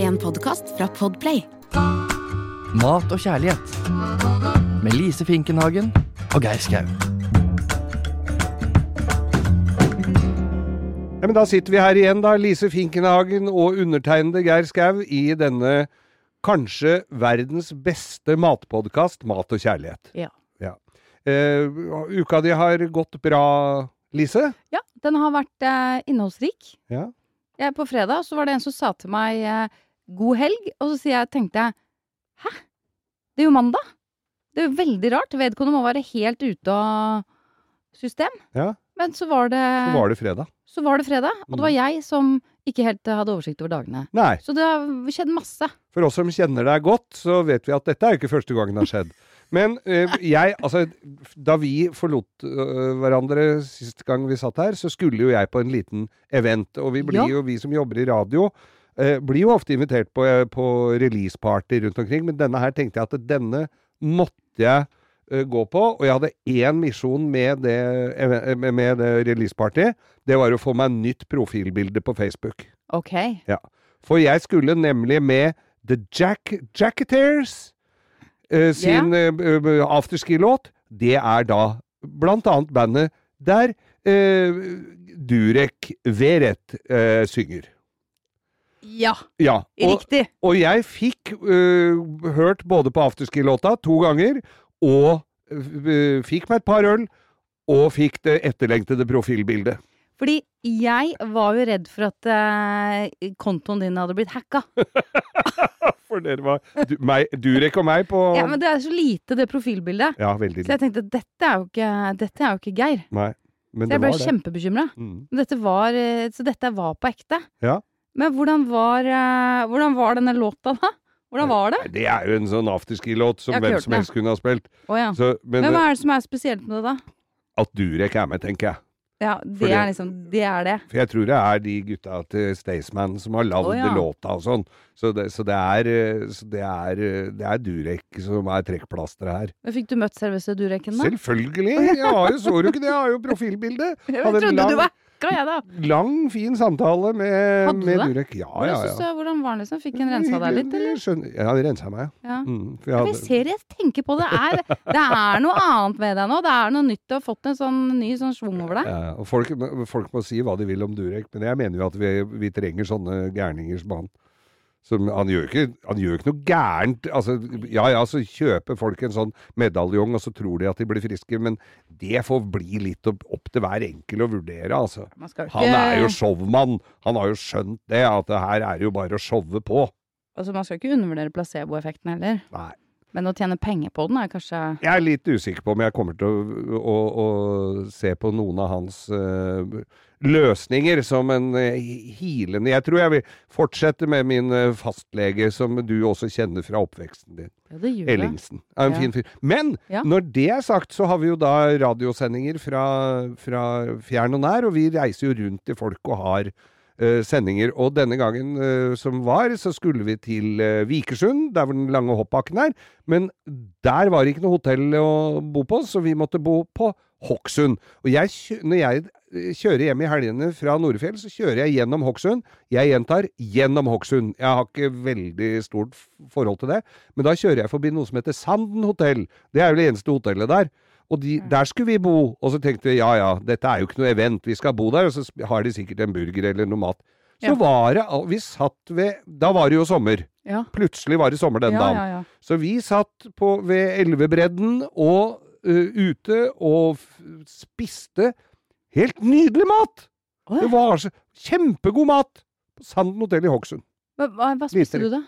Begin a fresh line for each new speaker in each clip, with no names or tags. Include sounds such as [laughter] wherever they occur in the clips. En podkast fra Podplay.
Mat og kjærlighet. Med Lise Finkenhagen og Geir Skau.
Ja, men da sitter vi her igjen, da. Lise Finkenhagen og undertegnede Geir Skau i denne kanskje verdens beste matpodkast, Mat og kjærlighet.
Ja.
Eh, uka di har gått bra, Lise?
Ja, den har vært eh, innholdsrik.
Ja.
Jeg, på fredag så var det en som sa til meg eh, 'god helg', og så sier jeg, tenkte jeg 'hæ? Det er jo mandag'. Det er jo veldig rart. Vedkommende må være helt ute av system.
Ja.
Men så var det,
Så var det Mm. fredag.
så var det fredag, og det var jeg som ikke helt eh, hadde oversikt over dagene.
Nei.
Så det har skjedd masse.
For oss som kjenner deg godt, så vet vi at dette er jo ikke første gangen det har skjedd. Men eh, jeg, altså Da vi forlot eh, hverandre sist gang vi satt her, så skulle jo jeg på en liten event. Og vi blir
Ja.
jo, vi som jobber i radio, eh, blir jo ofte invitert på, eh, på releaseparty rundt omkring. Men denne her tenkte jeg at denne måtte jeg eh, gå på. Og jeg hadde én misjon med det, eve- med- med det releasepartyet. Det var å få meg nytt profilbilde på Facebook.
Ok.
For jeg skulle nemlig med The Jack Jacketeers eh, sin eh, eh, afterski-låt. Det er da blant annet bandet der eh, Durek Veret eh, synger.
Ja,
Ja, og,
riktig.
og jeg fikk øh, hørt både på afterski-låta to ganger, og øh, fikk meg et par øl, og fikk det etterlengtede profilbildet.
Fordi jeg var jo redd for at eh, kontoen din hadde blitt hacka.
For dere var du, meg, Durek og meg på
Ja, men det er så lite, det profilbildet.
Ja, veldig
Så jeg tenkte dette er jo ikke, dette er jo ikke Geir.
Nei, men
Så
det
jeg ble
var det.
kjempebekymra.
Mm.
Men Dette var, eh, så dette var på ekte.
Ja.
Men hvordan var, eh, hvordan var denne låta, da? Hvordan var det?
Nei, Det er jo en sånn afterski-låt som
Jeg har ikke
hvem
hørt
som
den,
helst kunne ha spilt.
Å ja.
Så, men
Men hva
øh,
er det som er spesielt med det, da?
at Durek er med, tenker jeg.
Ja,
Fordi-
det er liksom Det er det.
For jeg tror det er de gutta til Staysman som har lagd
Å, ja.
låta og sånn. Så, det, så, det er, øh, så det, er, øh, det er Durek som er trekkplasteret her.
Men fikk du møtt selveste Dureken, da?
Selvfølgelig! Jeg har jo, så du ikke det? Jeg har jo profilbilde.
[laughs] Jeg
hadde en
trodde
lang-
du var hacka, jeg, da.
Lang, fin samtale med,
Hadde du
med
det?
Durek. Ja,
Hvordan
ja,
synes
ja.
du- Hvordan var den, liksom? Fikk en rensa deg litt,
[laughs]
eller?
Jeg skjønner- Ja, jeg rensa meg.
Ja.
Mm, for jeg
Men Jeg
hadde,
ser jeg tenker på det. Er, det er noe annet ved deg nå. Det er noe nytt. Du har fått en sånn ny sånn schwung over deg.
ja, og folk, folk må si hva de vil om Durek, men jeg mener jo at vi, vi trenger sånne gærninger som han. Som, han, gjør ikke, han gjør ikke noe gærent. Altså, ja ja, så kjøper folk en sånn medaljong, og så tror de at de blir friske, men det får bli litt opp, opp til hver enkel å vurdere, altså.
Man skal
Han er jo
ikke-
showmann. Han har jo skjønt det, at det her er jo bare å showe på.
Altså, man skal ikke undervurdere placeboeffekten heller.
Nei.
Men å tjene penger på den er kanskje
Jeg er litt usikker på om jeg kommer til å, å, å se på noen av hans eh, løsninger som en eh, hilende Jeg tror jeg vil fortsette med min eh, fastlege, som du også kjenner fra oppveksten din.
Ja, det gjør det.
Ellingsen. Er en
Ja.
fin fyr. Men
Ja.
når det er sagt, så har vi jo da radiosendinger fra, fra fjern og nær, og vi reiser jo rundt til folk og har eh, sendinger. Og denne gangen eh, som var, så skulle vi til eh, Vikersund, der hvor den lange hoppbakken er. Men der var det ikke noe hotell å bo på, så vi måtte bo på Hokksund. Og jeg, kjø- når jeg eh, kjører hjem i helgene fra Nordfjell, så kjører jeg gjennom Hokksund. Jeg gjentar gjennom Hokksund. Jeg har ikke veldig stort f- forhold til det. Men da kjører jeg forbi noe som heter Sanden hotell. Det er jo det eneste hotellet der. Og de, der skulle vi bo. Og så tenkte vi ja ja, dette er jo ikke noe event, vi skal bo der. Og så sp- har de sikkert en burger eller noe mat. Så
Ja.
var det al- Vi satt ved Da var det jo sommer.
Ja.
Plutselig var det sommer den
ja,
dagen.
ja, ja.
Så vi satt på, ved elvebredden og ø, ute og f spiste helt nydelig mat!
Å,
Det
ja.
var så kjempegod mat på Sanden hotell i Hokksund.
Hva, hva, hva spiste
Liter.
du, da?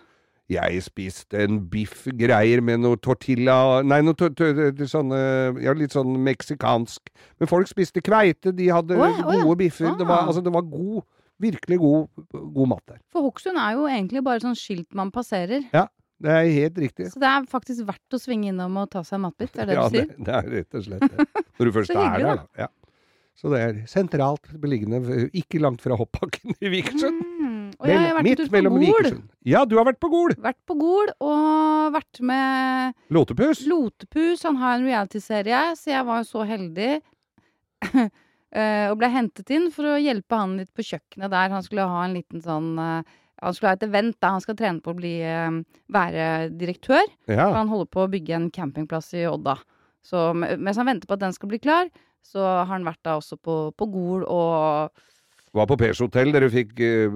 Jeg spiste en biffgreier med noe tortilla Nei, noe tor- tor- tor- sånne, ja, litt sånn meksikansk. Men folk spiste kveite, de hadde
Å ja, å ja.
gode biffer. Det, var,
Ah.
altså, det var god Virkelig god, god mat der.
For Hokksund er jo egentlig bare sånn skilt man passerer.
Det er helt riktig.
Så det er faktisk verdt å svinge innom og ta seg en matbit, er det
ja,
du sier?
Det, det er rett og slett det.
[laughs]
Når du først
Så
er
hyggelig,
der, da. Ja. Så det er sentralt beliggende, ikke langt fra hoppbakken i Vikersund.
Mm. Og jeg har
Mell-
vært en
midt
tur på
mellom
Gol.
Vikersund. Ja, du har vært på Gol!
Vært på Gol og vært med
Låtepus.
Lotepus. Han har en reality-serie, så jeg var jo så heldig [laughs] eh, og ble hentet inn for å hjelpe han litt på kjøkkenet der. Han skulle ha en liten sånn eh, Han skulle ha et event da han skal trene på å bli, eh, være direktør. Og
Ja.
han holder på å bygge en campingplass i Odda. Så m- mens han venter på at den skal bli klar, så har han vært da også på, på Gol og
Var på Pers hotell, dere fikk eh,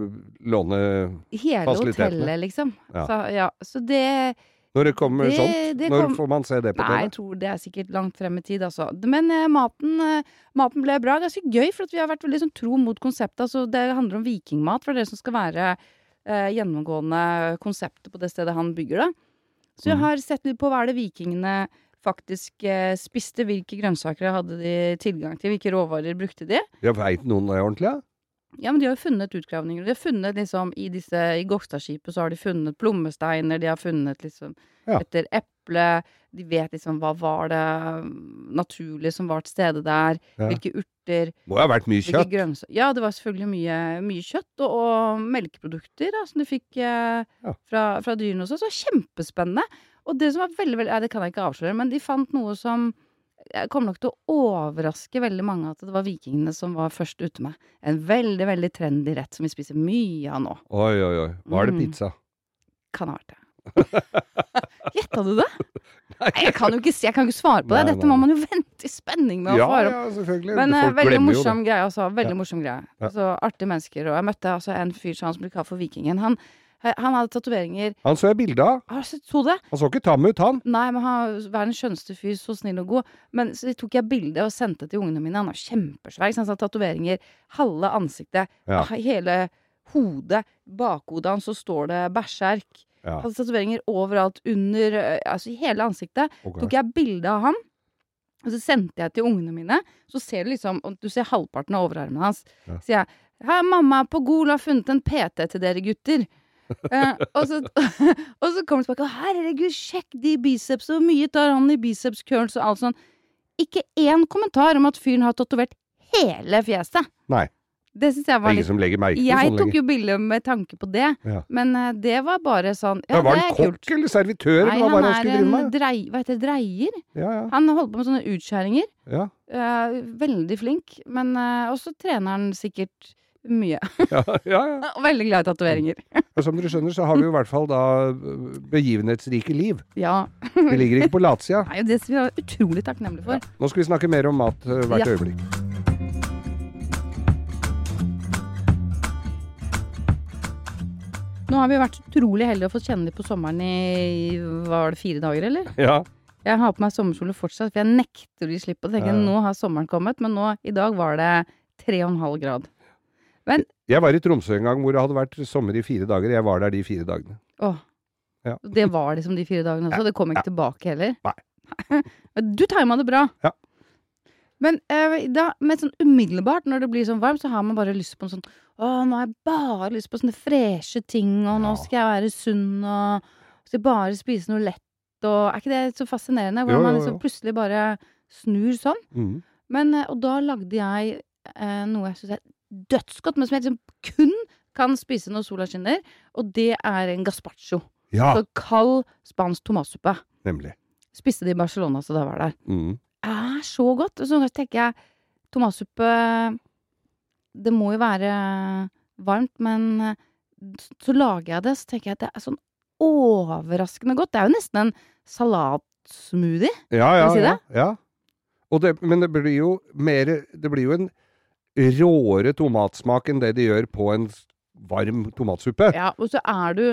låne
hele
Fasilitetene.
hotellet, liksom.
Ja.
Så, ja, så det
Når det kommer
Det-
sånt?
det
når
kom-
får man se det på
Nei, jeg
TV?
tror det er sikkert langt frem i tid, altså. Men eh, maten, eh, maten ble bra. Ganske gøy, for at vi har vært veldig sånn tro mot konseptet. Altså, det handler om vikingmat, for det er det som skal være eh, gjennomgående konseptet på det stedet han bygger, da. Så jeg
Mhm.
har sett litt på hva er det vikingene faktisk eh, spiste. Hvilke grønnsaker hadde de tilgang til? Hvilke råvarer brukte de?
Jeg veit noen det ordentlig, ja?
Ja, men de har jo funnet utgravninger. De har funnet liksom i disse I Gokstadskipet så har de funnet plommesteiner, de har funnet liksom
Ja.
etter eple. De vet liksom hva var det mm, naturlig som var til stede der.
Ja.
Hvilke urter.
Må jo ha vært mye
Hvilke
kjøtt.
grønnsaker Ja, det var selvfølgelig mye, mye kjøtt og, og melkeprodukter da, som du fikk eh,
Ja.
fra, fra dyrene også. Så kjempespennende. Og det som var veldig, veldig Nei, det kan jeg ikke avsløre, men de fant noe som jeg kommer nok til å overraske veldig mange at det var vikingene som var først ute med. En veldig, veldig trendy rett som vi spiser mye av nå.
Oi, oi, oi. Var det
Mm.
pizza?
Kan ha vært
[laughs]
det. Gjetta du det? Nei, jeg kan jo ikke, si- jeg kan ikke svare på det.
Nei,
Dette
nei,
må
nei.
man jo vente i spenning med å
Ja,
få høre
ja, selvfølgelig.
Men eh,
Folk
veldig
glemmer jo det.
morsom greie, altså. Veldig
Ja.
morsom greie.
Ja.
Altså, artige mennesker. Og jeg møtte altså en fyr som han som ble kalt for Vikingen. Han, han hadde tatoveringer
Han så jeg bilde av.
Har du sett så det?
Han så ikke tam ut, han.
Nei, men han var den skjønneste fyr, så snill og god. Men så tok jeg bilde og sendte til ungene mine. Han var kjempesvær. ikke sant? Så han hadde tatoveringer. Halve ansiktet,
Ja.
hele hodet, bakhodet hans, så står det berserk.
Ja,
Han hadde tatoveringer overalt, under eh, Altså i hele ansiktet
ok.
tok jeg bilde av han, og så sendte jeg til ungene mine. Så ser du liksom og Du ser halvparten av overarmen hans.
Ja.
Så sier jeg Her, mamma på Gol har funnet en PT til
[laughs]
dere gutter. Eh, og, så, [laughs] og så kommer de tilbake og herregud, sjekk de biceps, hvor mye tar han i biceps curls og alt sånn. Ikke én kommentar om at fyren har tatovert hele fjeset.
Nei.
Det syns jeg
Det er
var
ingen
litt
som legger merke til
Jeg
sånn
tok
lenger.
jo bilde med tanke på det,
Ja.
men eh, det var bare sånn Ja,
Ja, var
det
han
er
kokk
kult.
eller servitør,
Nei,
eller hva var
han
det han skulle
er
drive
en
med?
drei, hva heter det, dreier?
Ja, ja,
Han holder på med sånne utskjæringer.
ja.
Eh, veldig flink, men eh, også trener han sikkert mye. [laughs]
ja, ja, ja.
Og veldig glad i tatoveringer.
Og som dere skjønner, så har vi jo i hvert fall da øh, begivenhetsrike liv.
Ja.
Vi ligger ikke på latsida.
Det er jo det som vi er utrolig takknemlige for.
Nå skal vi snakke mer om mat øh, hvert
Ja.
øyeblikk.
Nå har vi vært utrolig heldige og fått kjenne litt på sommeren i var det fire dager, eller?
Ja.
Jeg har på meg sommerkjole fortsatt, for jeg nekter å gi slipp på det. Tenker,
Ja.
Nå har sommeren kommet, men nå, i dag var det tre og en halv grad.
Jeg var i Tromsø en gang hvor det hadde vært sommer i fire dager. Jeg var der de fire dagene.
Åh.
Ja.
Det var liksom de fire dagene også. Det kom ikke tilbake heller.
Nei.
[laughs] Men du tima det bra.
Ja.
Men, eh, da, men sånn umiddelbart når det blir sånn varmt, så har man bare lyst på en sånn Å, nå har jeg bare lyst på sånne freshe ting, og nå
Ja.
skal jeg være sunn, og skal jeg bare spise noe lett, og Er ikke det så fascinerende?
Jo,
Hvordan man
jo,
liksom
jo.
plutselig bare snur sånn.
Mm.
Men, eh, og da lagde jeg eh, noe jeg syns er dødsgodt, men som jeg liksom kun kan spise når sola skinner, og det er en gazpacho.
Ja,
Så kald spansk tomatsuppe.
nemlig.
Spiste det i Barcelona, så da var det der.
Mm.
Det er så godt! Og så tenker jeg tomatsuppe Det må jo være varmt, men eh, så lager jeg det, så tenker jeg at det er sånn overraskende godt. Det er jo nesten en salatsmoothie.
Ja,
Kan
ja,
jeg si
ja.
det?
ja. Og det, men det blir jo mer Det blir jo en råere tomatsmak enn det de gjør på en s- varm tomatsuppe.
Ja, og så er du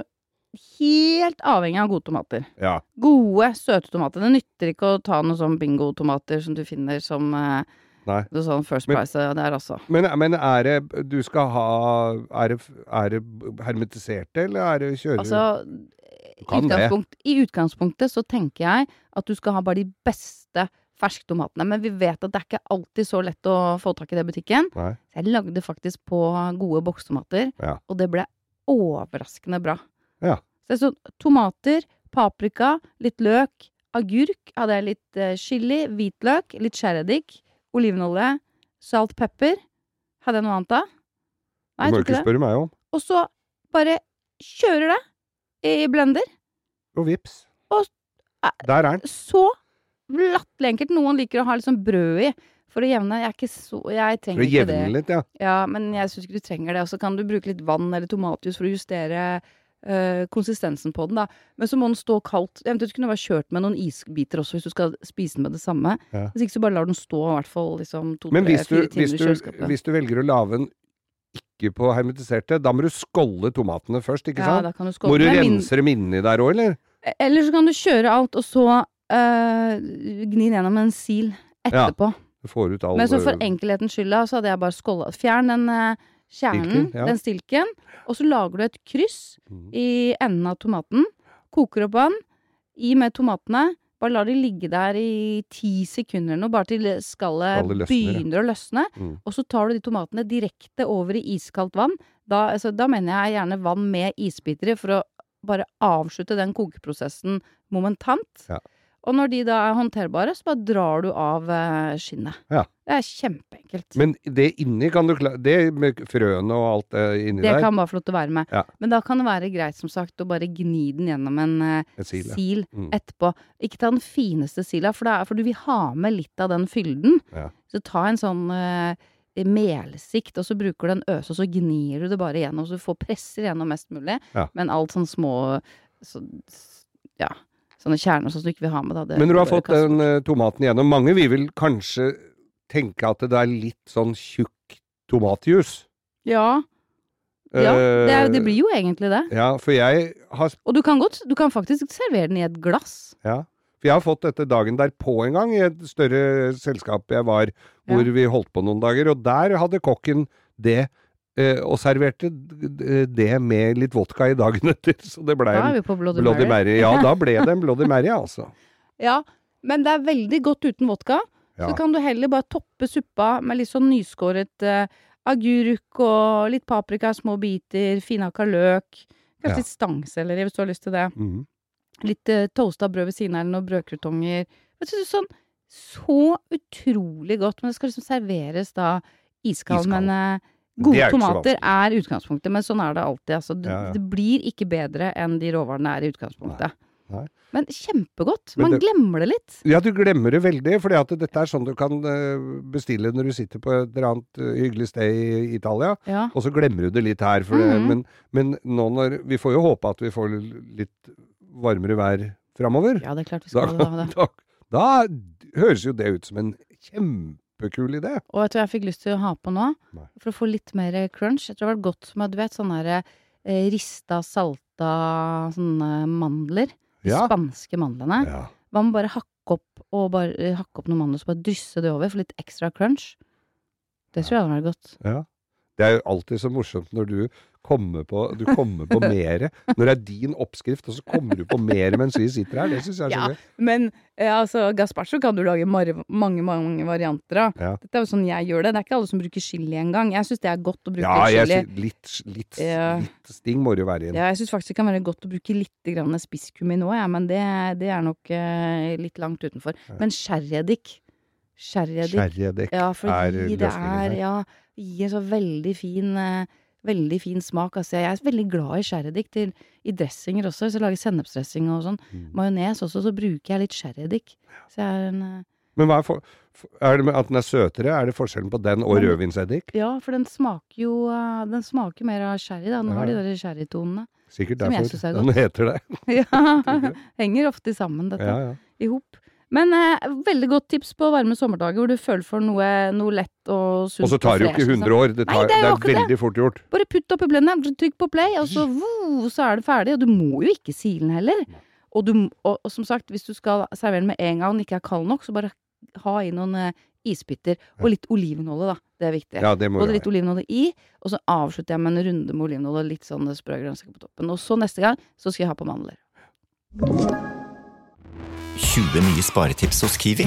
helt avhengig av gode tomater.
Ja.
Gode, søte tomater. Det nytter ikke å ta noen sånn bingo-tomater som du finner som eh,
Nei.
noe sånn First
Men-
Price eh, der også.
Men, men er det du skal ha Er det, er det hermetiserte, eller er det kjører...
Altså,
kan
i
det.
utgangspunkt, i utgangspunktet så tenker jeg at du skal ha bare de beste fersktomatene. Men vi vet at det er ikke alltid så lett å få tak i det i butikken.
Nei.
Så jeg lagde faktisk på gode bokstomater,
Ja.
og det ble overraskende bra.
Ja.
Så jeg så tomater, paprika, litt løk, agurk, hadde jeg litt eh, chili, hvitløk, litt skjæreddik, olivenolje, salt, pepper. Hadde jeg noe annet da?
Du
Nei, jeg
må jo
tror
ikke
ikke det.
spørre meg om.
Og så bare kjører det i blender.
Og vips.
Og-
Der er den.
så latterlig enkelt. Noen liker å ha litt sånn brød i for å jevne. Jeg, er ikke så, jeg
For å
trenger ikke
jevne
det.
den litt, ja.
Ja, men jeg syns ikke du trenger det. Og så kan du bruke litt vann eller tomatjus for å justere eh, konsistensen på den, da. Men så må den stå kaldt. Eventuelt kunne du bare kjørt med noen isbiter også, hvis du skal spise den med det samme.
Ja.
Hvis ikke så bare lar den stå i hvert fall liksom
Men hvis du,
to-tre-fire
hvis,
timer i
du,
kjøleskapet.
hvis du velger å lage den ikke på hermetiserte, da må du skålle tomatene først, ikke
ja,
sant?
da kan du
må
skåle
du
med. Min-
rense dem inni der òg, eller?
Eller så kan du kjøre alt, og så eh, gni den gjennom en sil
Ja.
etterpå.
Du får ut all
Men så for enkelhetens skyld da, så hadde jeg bare skåla Fjern den eh, kjernen,
Stilken, ja.
den stilken, og så lager du et kryss
Mhm.
i enden av tomaten. Koker opp vann, i med tomatene. Bare lar de ligge der i ti sekunder eller noe, bare til skallet
Skallet løsner, ja.
begynner å løsne.
Mhm.
Og så tar du de tomatene direkte over i iskaldt vann. Da, altså, da mener jeg gjerne vann med isbiter i, for å bare avslutte den kokeprosessen momentant.
Ja.
Og når de da er håndterbare, så bare drar du av eh, skinnet.
Ja.
Det er kjempeenkelt.
Men det inni kan du klare Det med frøene og alt det inni
det
der?
kan bare få lov til å være med.
Ja.
Men da kan det være greit, som sagt, å bare gni den gjennom en eh,
Et sil, ja.
sil
Mm.
etterpå. Ikke ta den fineste sila, for, det er, for du vil ha med litt av den fylden.
Ja.
Så ta en sånn eh, melsikt, og så bruker du en øse, og så gnir du det bare gjennom, så du får presser gjennom mest mulig.
Ja.
Men alt sånn små så, Ja. Sånne kjerner og sånt du ikke vil ha med, da. det
Men når du har
bør
fått
kaste
den
bort.
eh, tomaten igjennom Mange vil vel kanskje tenke at det er litt sånn tjukk tomatjus.
Ja. ja det, er, det
Eh,
blir jo egentlig det.
Ja, for jeg har
Og du kan godt Du kan faktisk servere den i et glass.
Ja. For jeg har fått dette dagen derpå en gang, i et større selskap jeg var, hvor vi holdt på noen dager, og der hadde kokken det, eh, og serverte d- det med litt vodka i dagen etter, så det blei
Da er
en
vi på Bloody,
Bloody
Mary.
Mary.
[laughs]
Ja, da ble det en Bloody Mary, altså.
Ja, men det er veldig godt uten vodka.
Ja.
Så kan du heller bare toppe suppa med litt sånn nyskåret eh, agurk og litt paprika, små biter, finhakka løk.
Ja.
Kanskje litt stangselleri hvis du har lyst til det.
Mhm.
Litt uh, toasta brød ved siden av eller noen brødkrutonger. Vet du, sånn så utrolig godt. Men det skal liksom serveres da iskald.
Iskald.
Men eh,
Det
gode
er ikke så
tomater er utgangspunktet, men sånn er det alltid. Altså, det,
Ja, ja.
det blir ikke bedre enn de råvarene er i utgangspunktet.
Nei. Nei.
Men kjempegodt.
Men
Man
det-
glemmer det litt.
Ja, du glemmer det veldig, for dette er sånn du kan eh, bestille når du sitter på et eller annet eh, hyggelig sted i Italia.
Ja.
Og så glemmer du det litt her, for det,
Mhm.
men, men nå når Vi får jo håpe at vi får litt varmere vær framover.
Ja, det er klart vi
Da,
skal
[laughs]
ha det.
da, da høres jo det ut som en kjempekul idé.
Og vet du hva jeg fikk lyst til å ha på nå?
Nei.
For å få litt mer crunch. Jeg tror det var godt med, du vet, sånne her, eh, rista, salta sånne mandler. De
Ja.
spanske mandlene.
Ja.
Hva med bare hakke opp, og bare, eh, hakke opp noen mandler, så bare drysse det over for litt ekstra crunch? Det tror jeg hadde vært godt.
Det er jo alltid så morsomt når du kommer på, du kommer på mere. Når det er din oppskrift, og så kommer du på mere mens vi sitter her. Det syns jeg er så
Ja.
gøy.
Men altså, gazpacho kan du lage mange, mange varianter av.
Ja.
Dette er jo sånn jeg gjør det. Det er ikke alle som bruker chili engang. Jeg syns det er godt å bruke
Ja, jeg, sy- litt, litt,
Ja.
litt sting må det jo være i den.
Ja, jeg syns faktisk det kan være godt å bruke litt grann spisskummin òg, ja, men det, det er nok eh, litt langt utenfor. Men sherryeddik. Sherryeddik.
Sherryeddik
Ja,
er
fordi det
løsningen her.
er Ja, gir en så veldig fin eh, Veldig fin smak. Altså, jeg er veldig glad i sherryeddik til- i dressinger også. Hvis jeg lager sennepsdressing og sånn,
Mm.
majones også, så bruker jeg litt sherryeddik. Så jeg er en eh,
Men hva er, for, for- er det med at den er søtere? Er det forskjellen på den og
Men-
rødvinseddik?
Ja, for den smaker jo eh, Den smaker mer av sherry, da.
Ja,
Nå har de
ja.
der sherrytonene. [laughs]
Sikkert
Som jeg
derfor
synes er
den heter det.
[laughs] ja. Henger ofte sammen, dette.
Ja, ja.
i hop. Men eh, veldig godt tips på varme sommerdager hvor du føler for noe, noe lett og sunt.
Og så tar det jo
fresh,
ikke
liksom.
100 år. Det,
Nei,
tar,
det er jo
det er
akkurat det.
veldig fort gjort.
Bare putt oppi blenderen, trykk på play, og så, voo, så er det ferdig. Og du må jo ikke sile den heller. Og, du, m- og, og som sagt, hvis du skal servere den med en gang og den ikke er kald nok, så bare ha i noen eh, isbiter. Og litt olivenolje, da. Det er viktig.
Ja, det må
Både
du
litt
ha.
olivenolje i, og så avslutter jeg med en runde med olivenolje og litt sånn sprø grønnsaker på toppen. Og så neste gang så skal jeg ha på mandler.
20 nye sparetips hos Kiwi.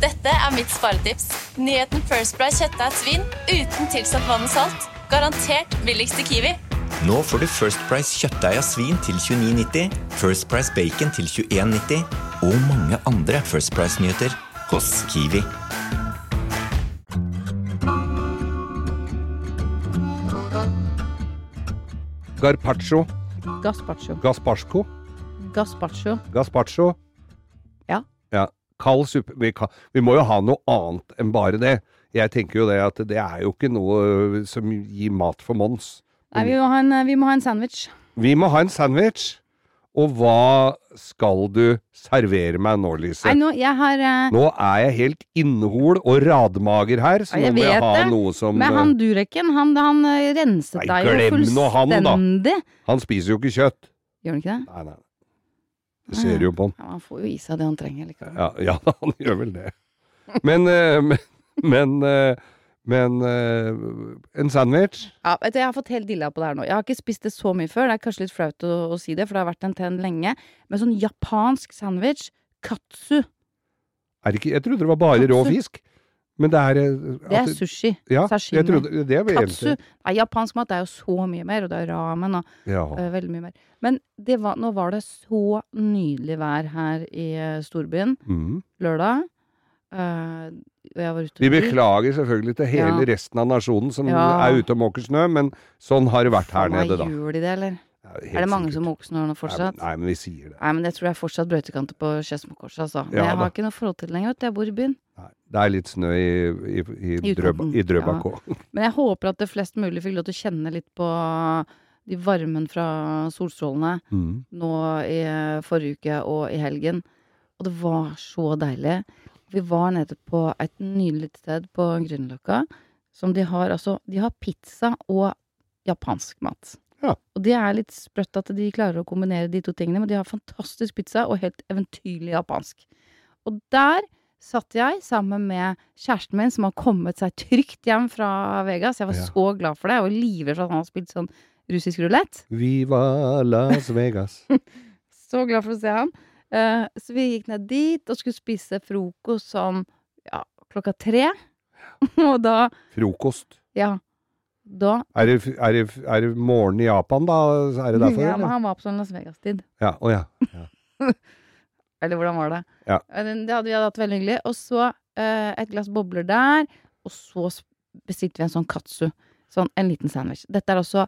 Dette er mitt sparetips. Nyheten First Price kjøttdeig svin uten tilsatt vann og salt. Garantert billigst i Kiwi.
Nå får du First Price kjøttdeig av svin til 29,90, First Price bacon til 21,90 og mange andre First Price-nyheter hos Kiwi.
Garpaccio.
Gazpacho.
Gazpacho.
Gazpacho.
Gazpacho.
Ja.
ja. Kald suppe vi, kan, vi må jo ha noe annet enn bare det. Jeg tenker jo det at det er jo ikke noe ø, som gir mat for Mons.
Nei, vi må ha en, eh, vi må ha en sandwich.
Vi må ha en sandwich. Og hva skal du servere meg nå, Lise?
Nei, nå, jeg har eh,
Nå er jeg helt innhol og radmager her, så
Ja, jeg
nå må jeg
vet
ha
det.
noe som øh,
Men han Dureken, han, han eh, renset
Nei,
deg jo
glem nå han, da.
fullstendig.
ø, Han spiser jo ikke kjøtt.
Gjør han ikke det?
Nei, nei. Det ser jo på han.
Ja, han får jo i seg det han trenger liksom. likevel.
Ja, ja [laughs] han gjør vel det. Men ø, men, men, ø, men ø, en sandwich
Ja, vet du, jeg har fått helt dilla på det her nå. Jeg har ikke spist det så mye før. Det er kanskje litt flaut å, å si det, for det har vært en trend lenge. Men sånn japansk sandwich, katsu,
er ikke, Jeg trodde det var bare rå
Katsu.
fisk. Men det er ø,
det er
at-
sushi.
ja,
sashimi.
Jeg trodde, det er vel
Katsu.
eneste.
Nei, japansk mat er jo så mye mer, og det er ramen og
Ja.
eh, veldig mye mer. Men det var, nå var det så nydelig vær her i eh, storbyen
Mm.
lørdag. Eh, og jeg var ute
Vi
på tur.
beklager selvfølgelig til hele resten av nasjonen som
Ja.
er ute og måker snø, men sånn har det vært her
Faen, nei,
nede, da.
Gjør de det, eller?
Helt
er det mange
sikkert.
som måker snø nå fortsatt?
Nei, men- nei, men vi sier det.
Nei, men jeg tror det er fortsatt brøytekanter på Skedsmokorset, altså. Men
Ja,
jeg
da.
har ikke noe forhold til det lenger, vet du. Jeg bor i byen.
Nei, det er litt snø i, i, i,
I
Drøba,
utkanten,
i Drøbak
ja.
òg.
Men jeg håper at det flest mulig fikk lov til å kjenne litt på de varmen fra solstrålene
Mm.
nå i eh, forrige uke og i helgen. Og det var så deilig. Vi var nede på et nydelig sted på Grünerløkka. Som de har altså De har pizza og japansk mat.
Ja.
Og det er litt sprøtt at de klarer å kombinere de to tingene, men de har fantastisk pizza og helt eventyrlig japansk. Og der satt jeg sammen med kjæresten min, som har kommet seg trygt hjem fra Vegas. Jeg var
Ja.
så glad for det, og livredd for at han har spilt sånn russisk rulett.
Viva Las
[laughs]
Vegas.
Så glad for å se han. Eh, så vi gikk ned dit og skulle spise frokost sånn ja, klokka tre. [laughs] og da
Frokost.
Ja. Da
Er det, f- er, det, f- er det morgen i Japan, da? Er det derfor?
ja, men
eller?
Han var på sånn Las Vegas-tid.
Ja, å ja. ja.
Eller hvordan var det?
Ja.
Eh, den- Det hadde vi hadde hatt veldig hyggelig. Og så eh, et glass bobler der. Og så s- bestilte vi en sånn katsu. Sånn en liten sandwich. Dette er også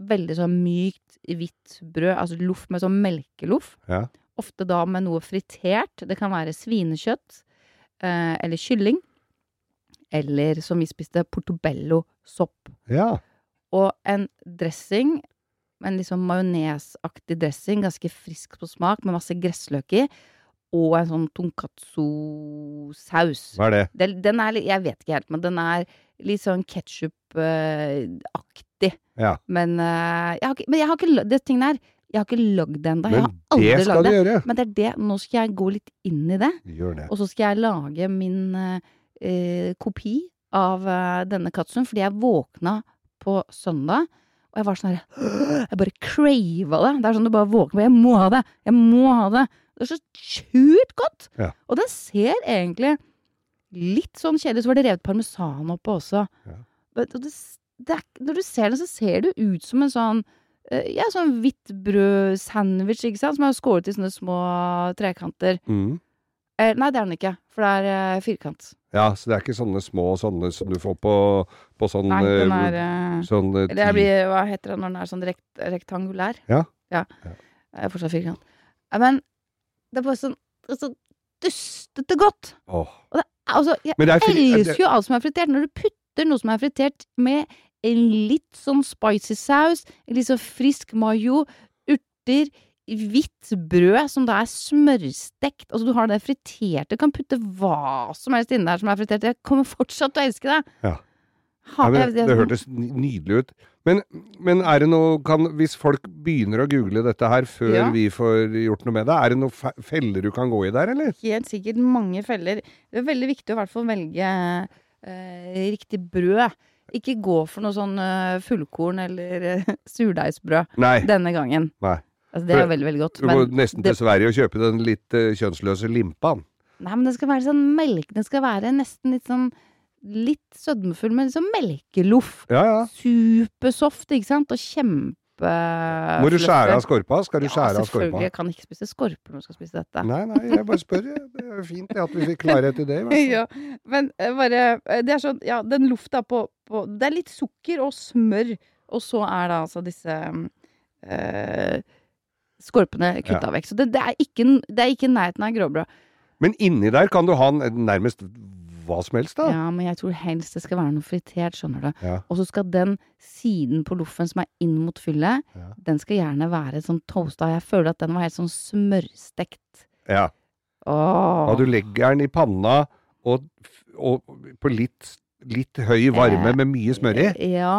veldig sånn mykt, hvitt brød. Altså loff med sånn melkeloff.
Ja.
Ofte da med noe fritert. Det kan være svinekjøtt. Eh, eller kylling. Eller som vi spiste, portobello-sopp.
ja.
Og en dressing, en liksom majonesaktig dressing, ganske frisk på smak, med masse gressløk i. Og en sånn tonkatsu-saus.
Hva er det?
Den den er litt Jeg vet ikke helt, men den er litt sånn ketsjup-aktig.
Ja.
Men, eh, jeg har ikke, men jeg har ikke lagd det tingene her. Jeg har ikke lagd det ennå. Jeg
Men
har
det
aldri
skal
lagd
du
det.
gjøre.
Men det er det. Nå skal jeg gå litt inn i det.
Gjør det.
Og så skal jeg lage min eh, eh, kopi av eh, denne katsuen, fordi jeg våkna på søndag, og jeg var sånn her [gasps] Jeg bare crava det. Det er sånn du bare våkner med Jeg må ha det! Jeg må ha det! Det er så sjukt godt!
Ja.
Og den ser egentlig litt sånn kjedelig ut, så var det revet parmesan oppå også.
Ja.
Men- Og det, s- det er, ikke- når du ser den, så ser det jo ut som en sånn eh, ja, sånn hvitt brød-sandwich, ikke sant, som er skåret i sånne små trekanter.
Mm.
Eh, nei, det er den ikke, for det er eh, firkant.
Ja, så det er ikke sånne små sånne som du får på, på sånn
Nei, den
eh,
er eh,
Sånn eh,
Eller jeg
ti-
blir, hva heter det når den er sånn rekt, rektangulær?
Ja.
ja.
Ja.
Det er fortsatt firkant. Nei, Men det er bare sånn det er så dustete godt!
Åh.
Altså, jeg
Men det er eh, fordi-
elsker jo alt som er fritert. Når du putter noe som er fritert med en litt sånn spicy saus, en litt sånn frisk mayo, urter, hvitt brød som da er smørstekt Altså, du har det friterte. Du kan putte hva som helst inni der som er fritert. Jeg kommer fortsatt til å elske det.
Ja.
Ha,
Nei,
jeg-
men, det hørtes ny- nydelig ut. Men, men er det noe kan, Hvis folk begynner å google dette her før
Ja.
vi får gjort noe med det, er det noen fe- feller du kan gå i der, eller?
helt sikkert mange feller. Det er veldig viktig å i hvert fall velge eh, riktig brød. Ikke gå for noe sånn eh, fullkorn eller eh, [laughs] surdeigsbrød
Nei.
denne gangen.
Nei.
Altså, det er jo veldig, veldig godt.
Du går nesten
det-
til Sverige og kjøper den litt eh, kjønnsløse limpa.
Nei, men den skal være sånn melk... Den skal være nesten litt sånn Litt sødmefull, men liksom melkeloff.
Ja, ja.
Supersoft, ikke sant? Og kjempe... Eh,
Må du skjære av skorpa? Skal du
Ja,
skjære av
selvfølgelig.
skorpa?
Jeg kan ikke spise skorpe når jeg skal spise dette.
Nei, nei, jeg bare spør. jeg. Det er jo fint det, at vi fikk klarhet i det. i hvert fall.
[laughs] [laughs] ja, men eh, bare eh, Det er sånn, ja, den lufta på, på Det er litt sukker og smør, og så er da altså disse mm, eh, skorpene kutta vekk. Så det, det, er ikke, n- det er ikke i nærheten av gråbrød.
Men inni der kan du ha n- nærmest hva som helst, da.
Ja, men jeg tror helst det skal være noe fritert, skjønner du.
Ja.
Og så skal den siden på loffen som er inn mot fyllet,
Ja.
den skal gjerne være sånn toasta. Jeg føler at den var helt sånn smørstekt.
Ja.
Åh.
Ja, du legger den i panna og, f- og på litt, litt høy varme
Eh,
med mye smør i,
Ja.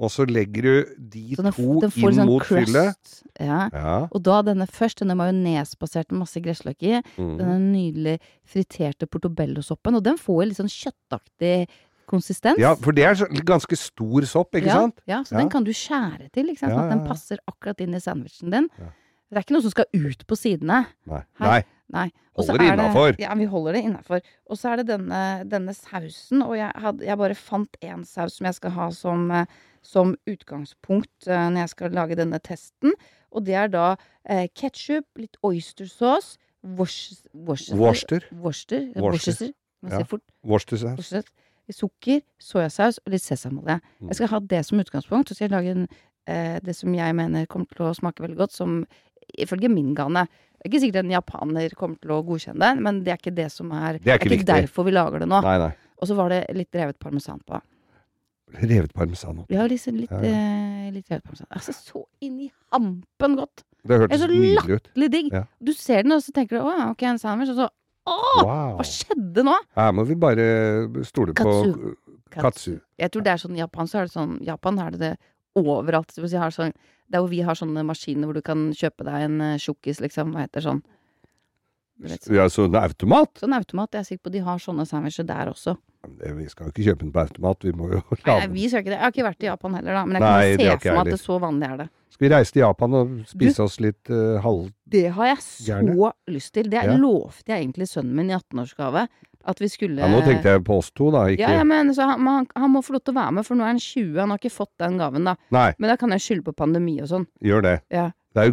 og så legger du de
Så den, f-
to
den får
inn
sånn
mot
crust.
fyllet.
Ja.
Ja.
Og da denne først, denne majonesbaserte med masse gressløk i,
Mm.
denne nydelig friterte portobellosoppen, og den får jo litt sånn kjøttaktig konsistens.
ja, for det er så- ganske stor sopp, ikke sant?
Ja, ja så
Ja.
den kan du skjære til, ikke sant?
Ja,
sånn at
ja,
den
ja.
passer akkurat inn i sandwichen din.
Ja.
Det er ikke noe som skal ut på sidene.
Nei.
Her.
Nei.
Nei. Og så
Holder det
er
innafor.
Ja, vi holder det innafor. Og så er det denne, denne sausen, og jeg, hadde, jeg bare fant én saus som jeg skal ha som, eh, som utgangspunkt eh, når jeg skal lage denne testen. Og det er da eh, ketsjup, litt oystersauce, wors- worcester
Worcester.
Worcester. ja,
Worcester.
Worcester. Man
Ja.
sier fort
Worcestershire.
Worcester. Sukker, soyasaus og litt sesamolje.
Mm.
Jeg skal ha det som utgangspunkt, så skal jeg lage en, eh, det som jeg mener kommer til å smake veldig godt, som ifølge min gane Det er ikke sikkert en japaner kommer til å godkjenne det, men det er ikke det som er
Det er ikke viktig.
derfor vi lager det nå.
Nei, nei.
Og så var det litt revet parmesan på.
Revet parmesan oppi.
Ja, liksom litt,
Ja, ja.
Eh, litt revet parmesan. Altså, så inn i hampen godt!
Det
Jeg
hørtes
er så
nydelig ut.
Litt digg.
Ja.
Du ser den, og så tenker du å ja, ok, en sandwich, og så å!
Wow.
Hva skjedde nå?
Her må vi bare stole på
Katsu.
Katsu.
Jeg tror det er sånn i Japan, så er det sånn Japan er det det overalt. Det vil si, har sånn, det er hvor vi har sånne maskiner hvor du kan kjøpe deg en eh, tjukkis, liksom. Hva heter sånn? Du vet, sånn.
Ja, så en automat?
Sånn automat. Jeg er sikker på de har sånne sandwicher der også.
Det- Vi skal jo ikke kjøpe den på automat, vi må jo
Nei,
lage den.
vi skal ikke det. Jeg har ikke vært i Japan heller, da. Men jeg
Nei, det
kan
har
se
ikke jeg
for meg
heller.
at det så vanlig er det.
Skal vi reise til Japan og spise oss litt eh, halv...
Det har jeg så
Gjerne.
lyst til. Det
Ja.
lovte jeg egentlig sønnen min i 18-årsgave. At vi skulle
Ja, nå tenkte jeg på oss to, da. Ikke
ja, ja, men så han, han, han må få lov til å være med, for nå er han 20, han har ikke fått den gaven, da.
Nei,
Men da kan jeg skylde på pandemi og sånn.
gjør det.
Ja.
Det er jo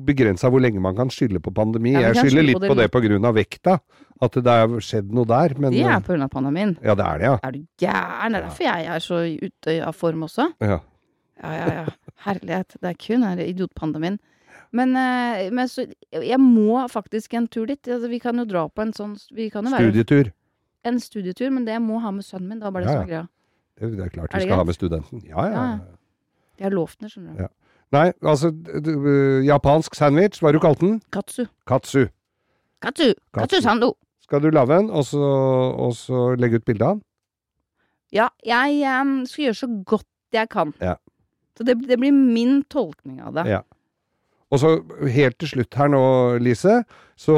begrensa hvor lenge man kan skylde på pandemi.
Ja, vi
jeg
kan
skylder
skylde
litt
på det
på det pga. vekta. At det har skjedd noe der. Men
Det
eh,
er på grunn av pandemien.
Ja, det er det, ja.
Er du gæren? Det er derfor jeg er så ute av form også.
ja.
Ja, ja, ja. [laughs] Herlighet. Det er kun her idiotpandemien. Men, eh, men så, jeg må faktisk en tur dit. Altså, vi kan jo dra på en sånn Vi kan jo være
Studietur.
en studietur, men det må jeg ha med sønnen min. Det var bare det
Ja,
som var greia.
Det det er klart vi
Er det
skal ha
greit?
med studenten. Ja, ja.
Ja, ja. Jeg har lovt det, skjønner du.
Ja. Nei, altså d- d- øh, Japansk sandwich, hva har du kalt den?
Katsu.
Katsu.
Katsu!
Katsu.
Katsu sando!
Skal du lage en, og så, og så legge ut bilde av den?
Ja, jeg em, skal gjøre så godt jeg kan.
Ja.
Så det, det blir min tolkning av det.
Ja. Og så helt til slutt her nå, Lise. Så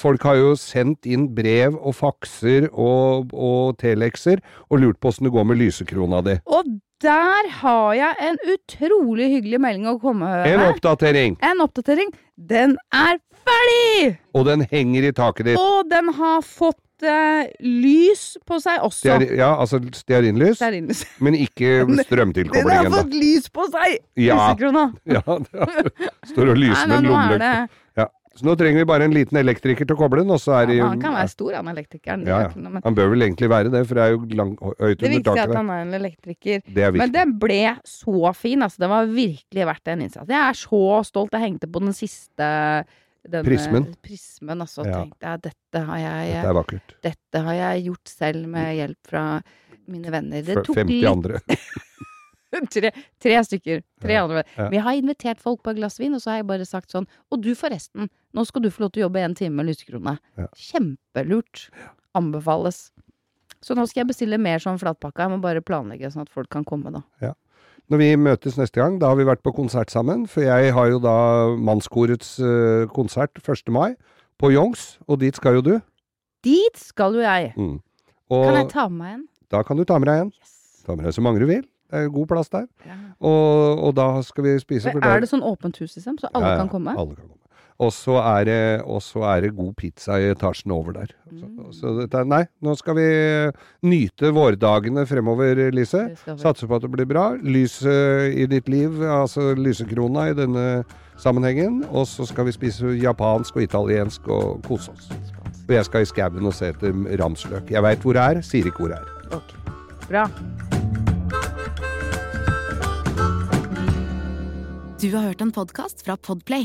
folk har jo sendt inn brev og fakser og, og telekser og lurt på åssen det går med lysekrona di.
Og der har jeg en utrolig hyggelig melding å komme med.
En oppdatering!
En oppdatering. Den er ferdig!
Og den henger i taket ditt.
Og den har fått eh, lys på seg også.
Steari, ja, altså stearinlys,
Stearinlys.
men ikke
[laughs] Den- Den har
strømtilkoblingen, da.
fått lys på seg!
Ja.
Lysekrona.
[laughs] Ja, det er- står og lyser med
Nei,
en
nå er det
lommelykt. Ja. Så nå trenger vi bare en liten elektriker til å koble den, og så er det
ja,
jo
Han kan være stor, han elektrikeren. det
Ja,
er
ja.
ikke noe, men
Han bør vel egentlig være det, for det er jo lang, høyt
Det
under
viktige er
taket.
at
der.
han er en elektriker.
Det er
Men
viktig.
den ble så fin, altså. Den var virkelig verdt en innsats. Jeg er så stolt. Jeg hengte på den siste denne
Prismen.
prismen altså,
Ja.
tenkte jeg dette har jeg,
Dette er vakkert.
dette har jeg gjort selv med hjelp fra mine venner. Det
F-
tok
50
litt
andre. [laughs]
[laughs] tre, tre stykker. Tre
Ja,
andre.
ja.
Men jeg har invitert folk på et glass vin, og så har jeg bare sagt sånn Og du, forresten. Nå skal du få lov til å jobbe en time med lysekrone.
Ja.
Kjempelurt. Anbefales. Så nå skal jeg bestille mer sånn flatpakka. Jeg må bare planlegge sånn at folk kan komme, da.
Når vi møtes neste gang, da har vi vært på konsert sammen. For jeg har jo da mannskorets eh, konsert 1. mai på Youngs, og dit skal jo du.
Dit skal jo jeg!
Mm.
Kan jeg
Og
ta med meg en?
da kan du ta med deg en.
Yes.
Ta med deg så mange du vil. Det er jo god plass der.
Ja.
Og, og da skal vi spise.
Men er det sånn åpent hus, liksom? Så alle kan komme?
Alle kan komme. Og så er, det- og så er det god pizza i etasjen over der.
Mm.
Så, så dette er Nei, nå skal vi nyte vårdagene fremover, Lise.
Det skal vi.
Satser på at det blir bra. Lyset i ditt liv, altså lysekrona i denne sammenhengen. Og så skal vi spise japansk og italiensk og kose oss. Og jeg skal i skauen og se etter ramsløk. Jeg veit hvor det er, sier ikke hvor det er.
Bra.
Du har hørt en podkast fra Podplay.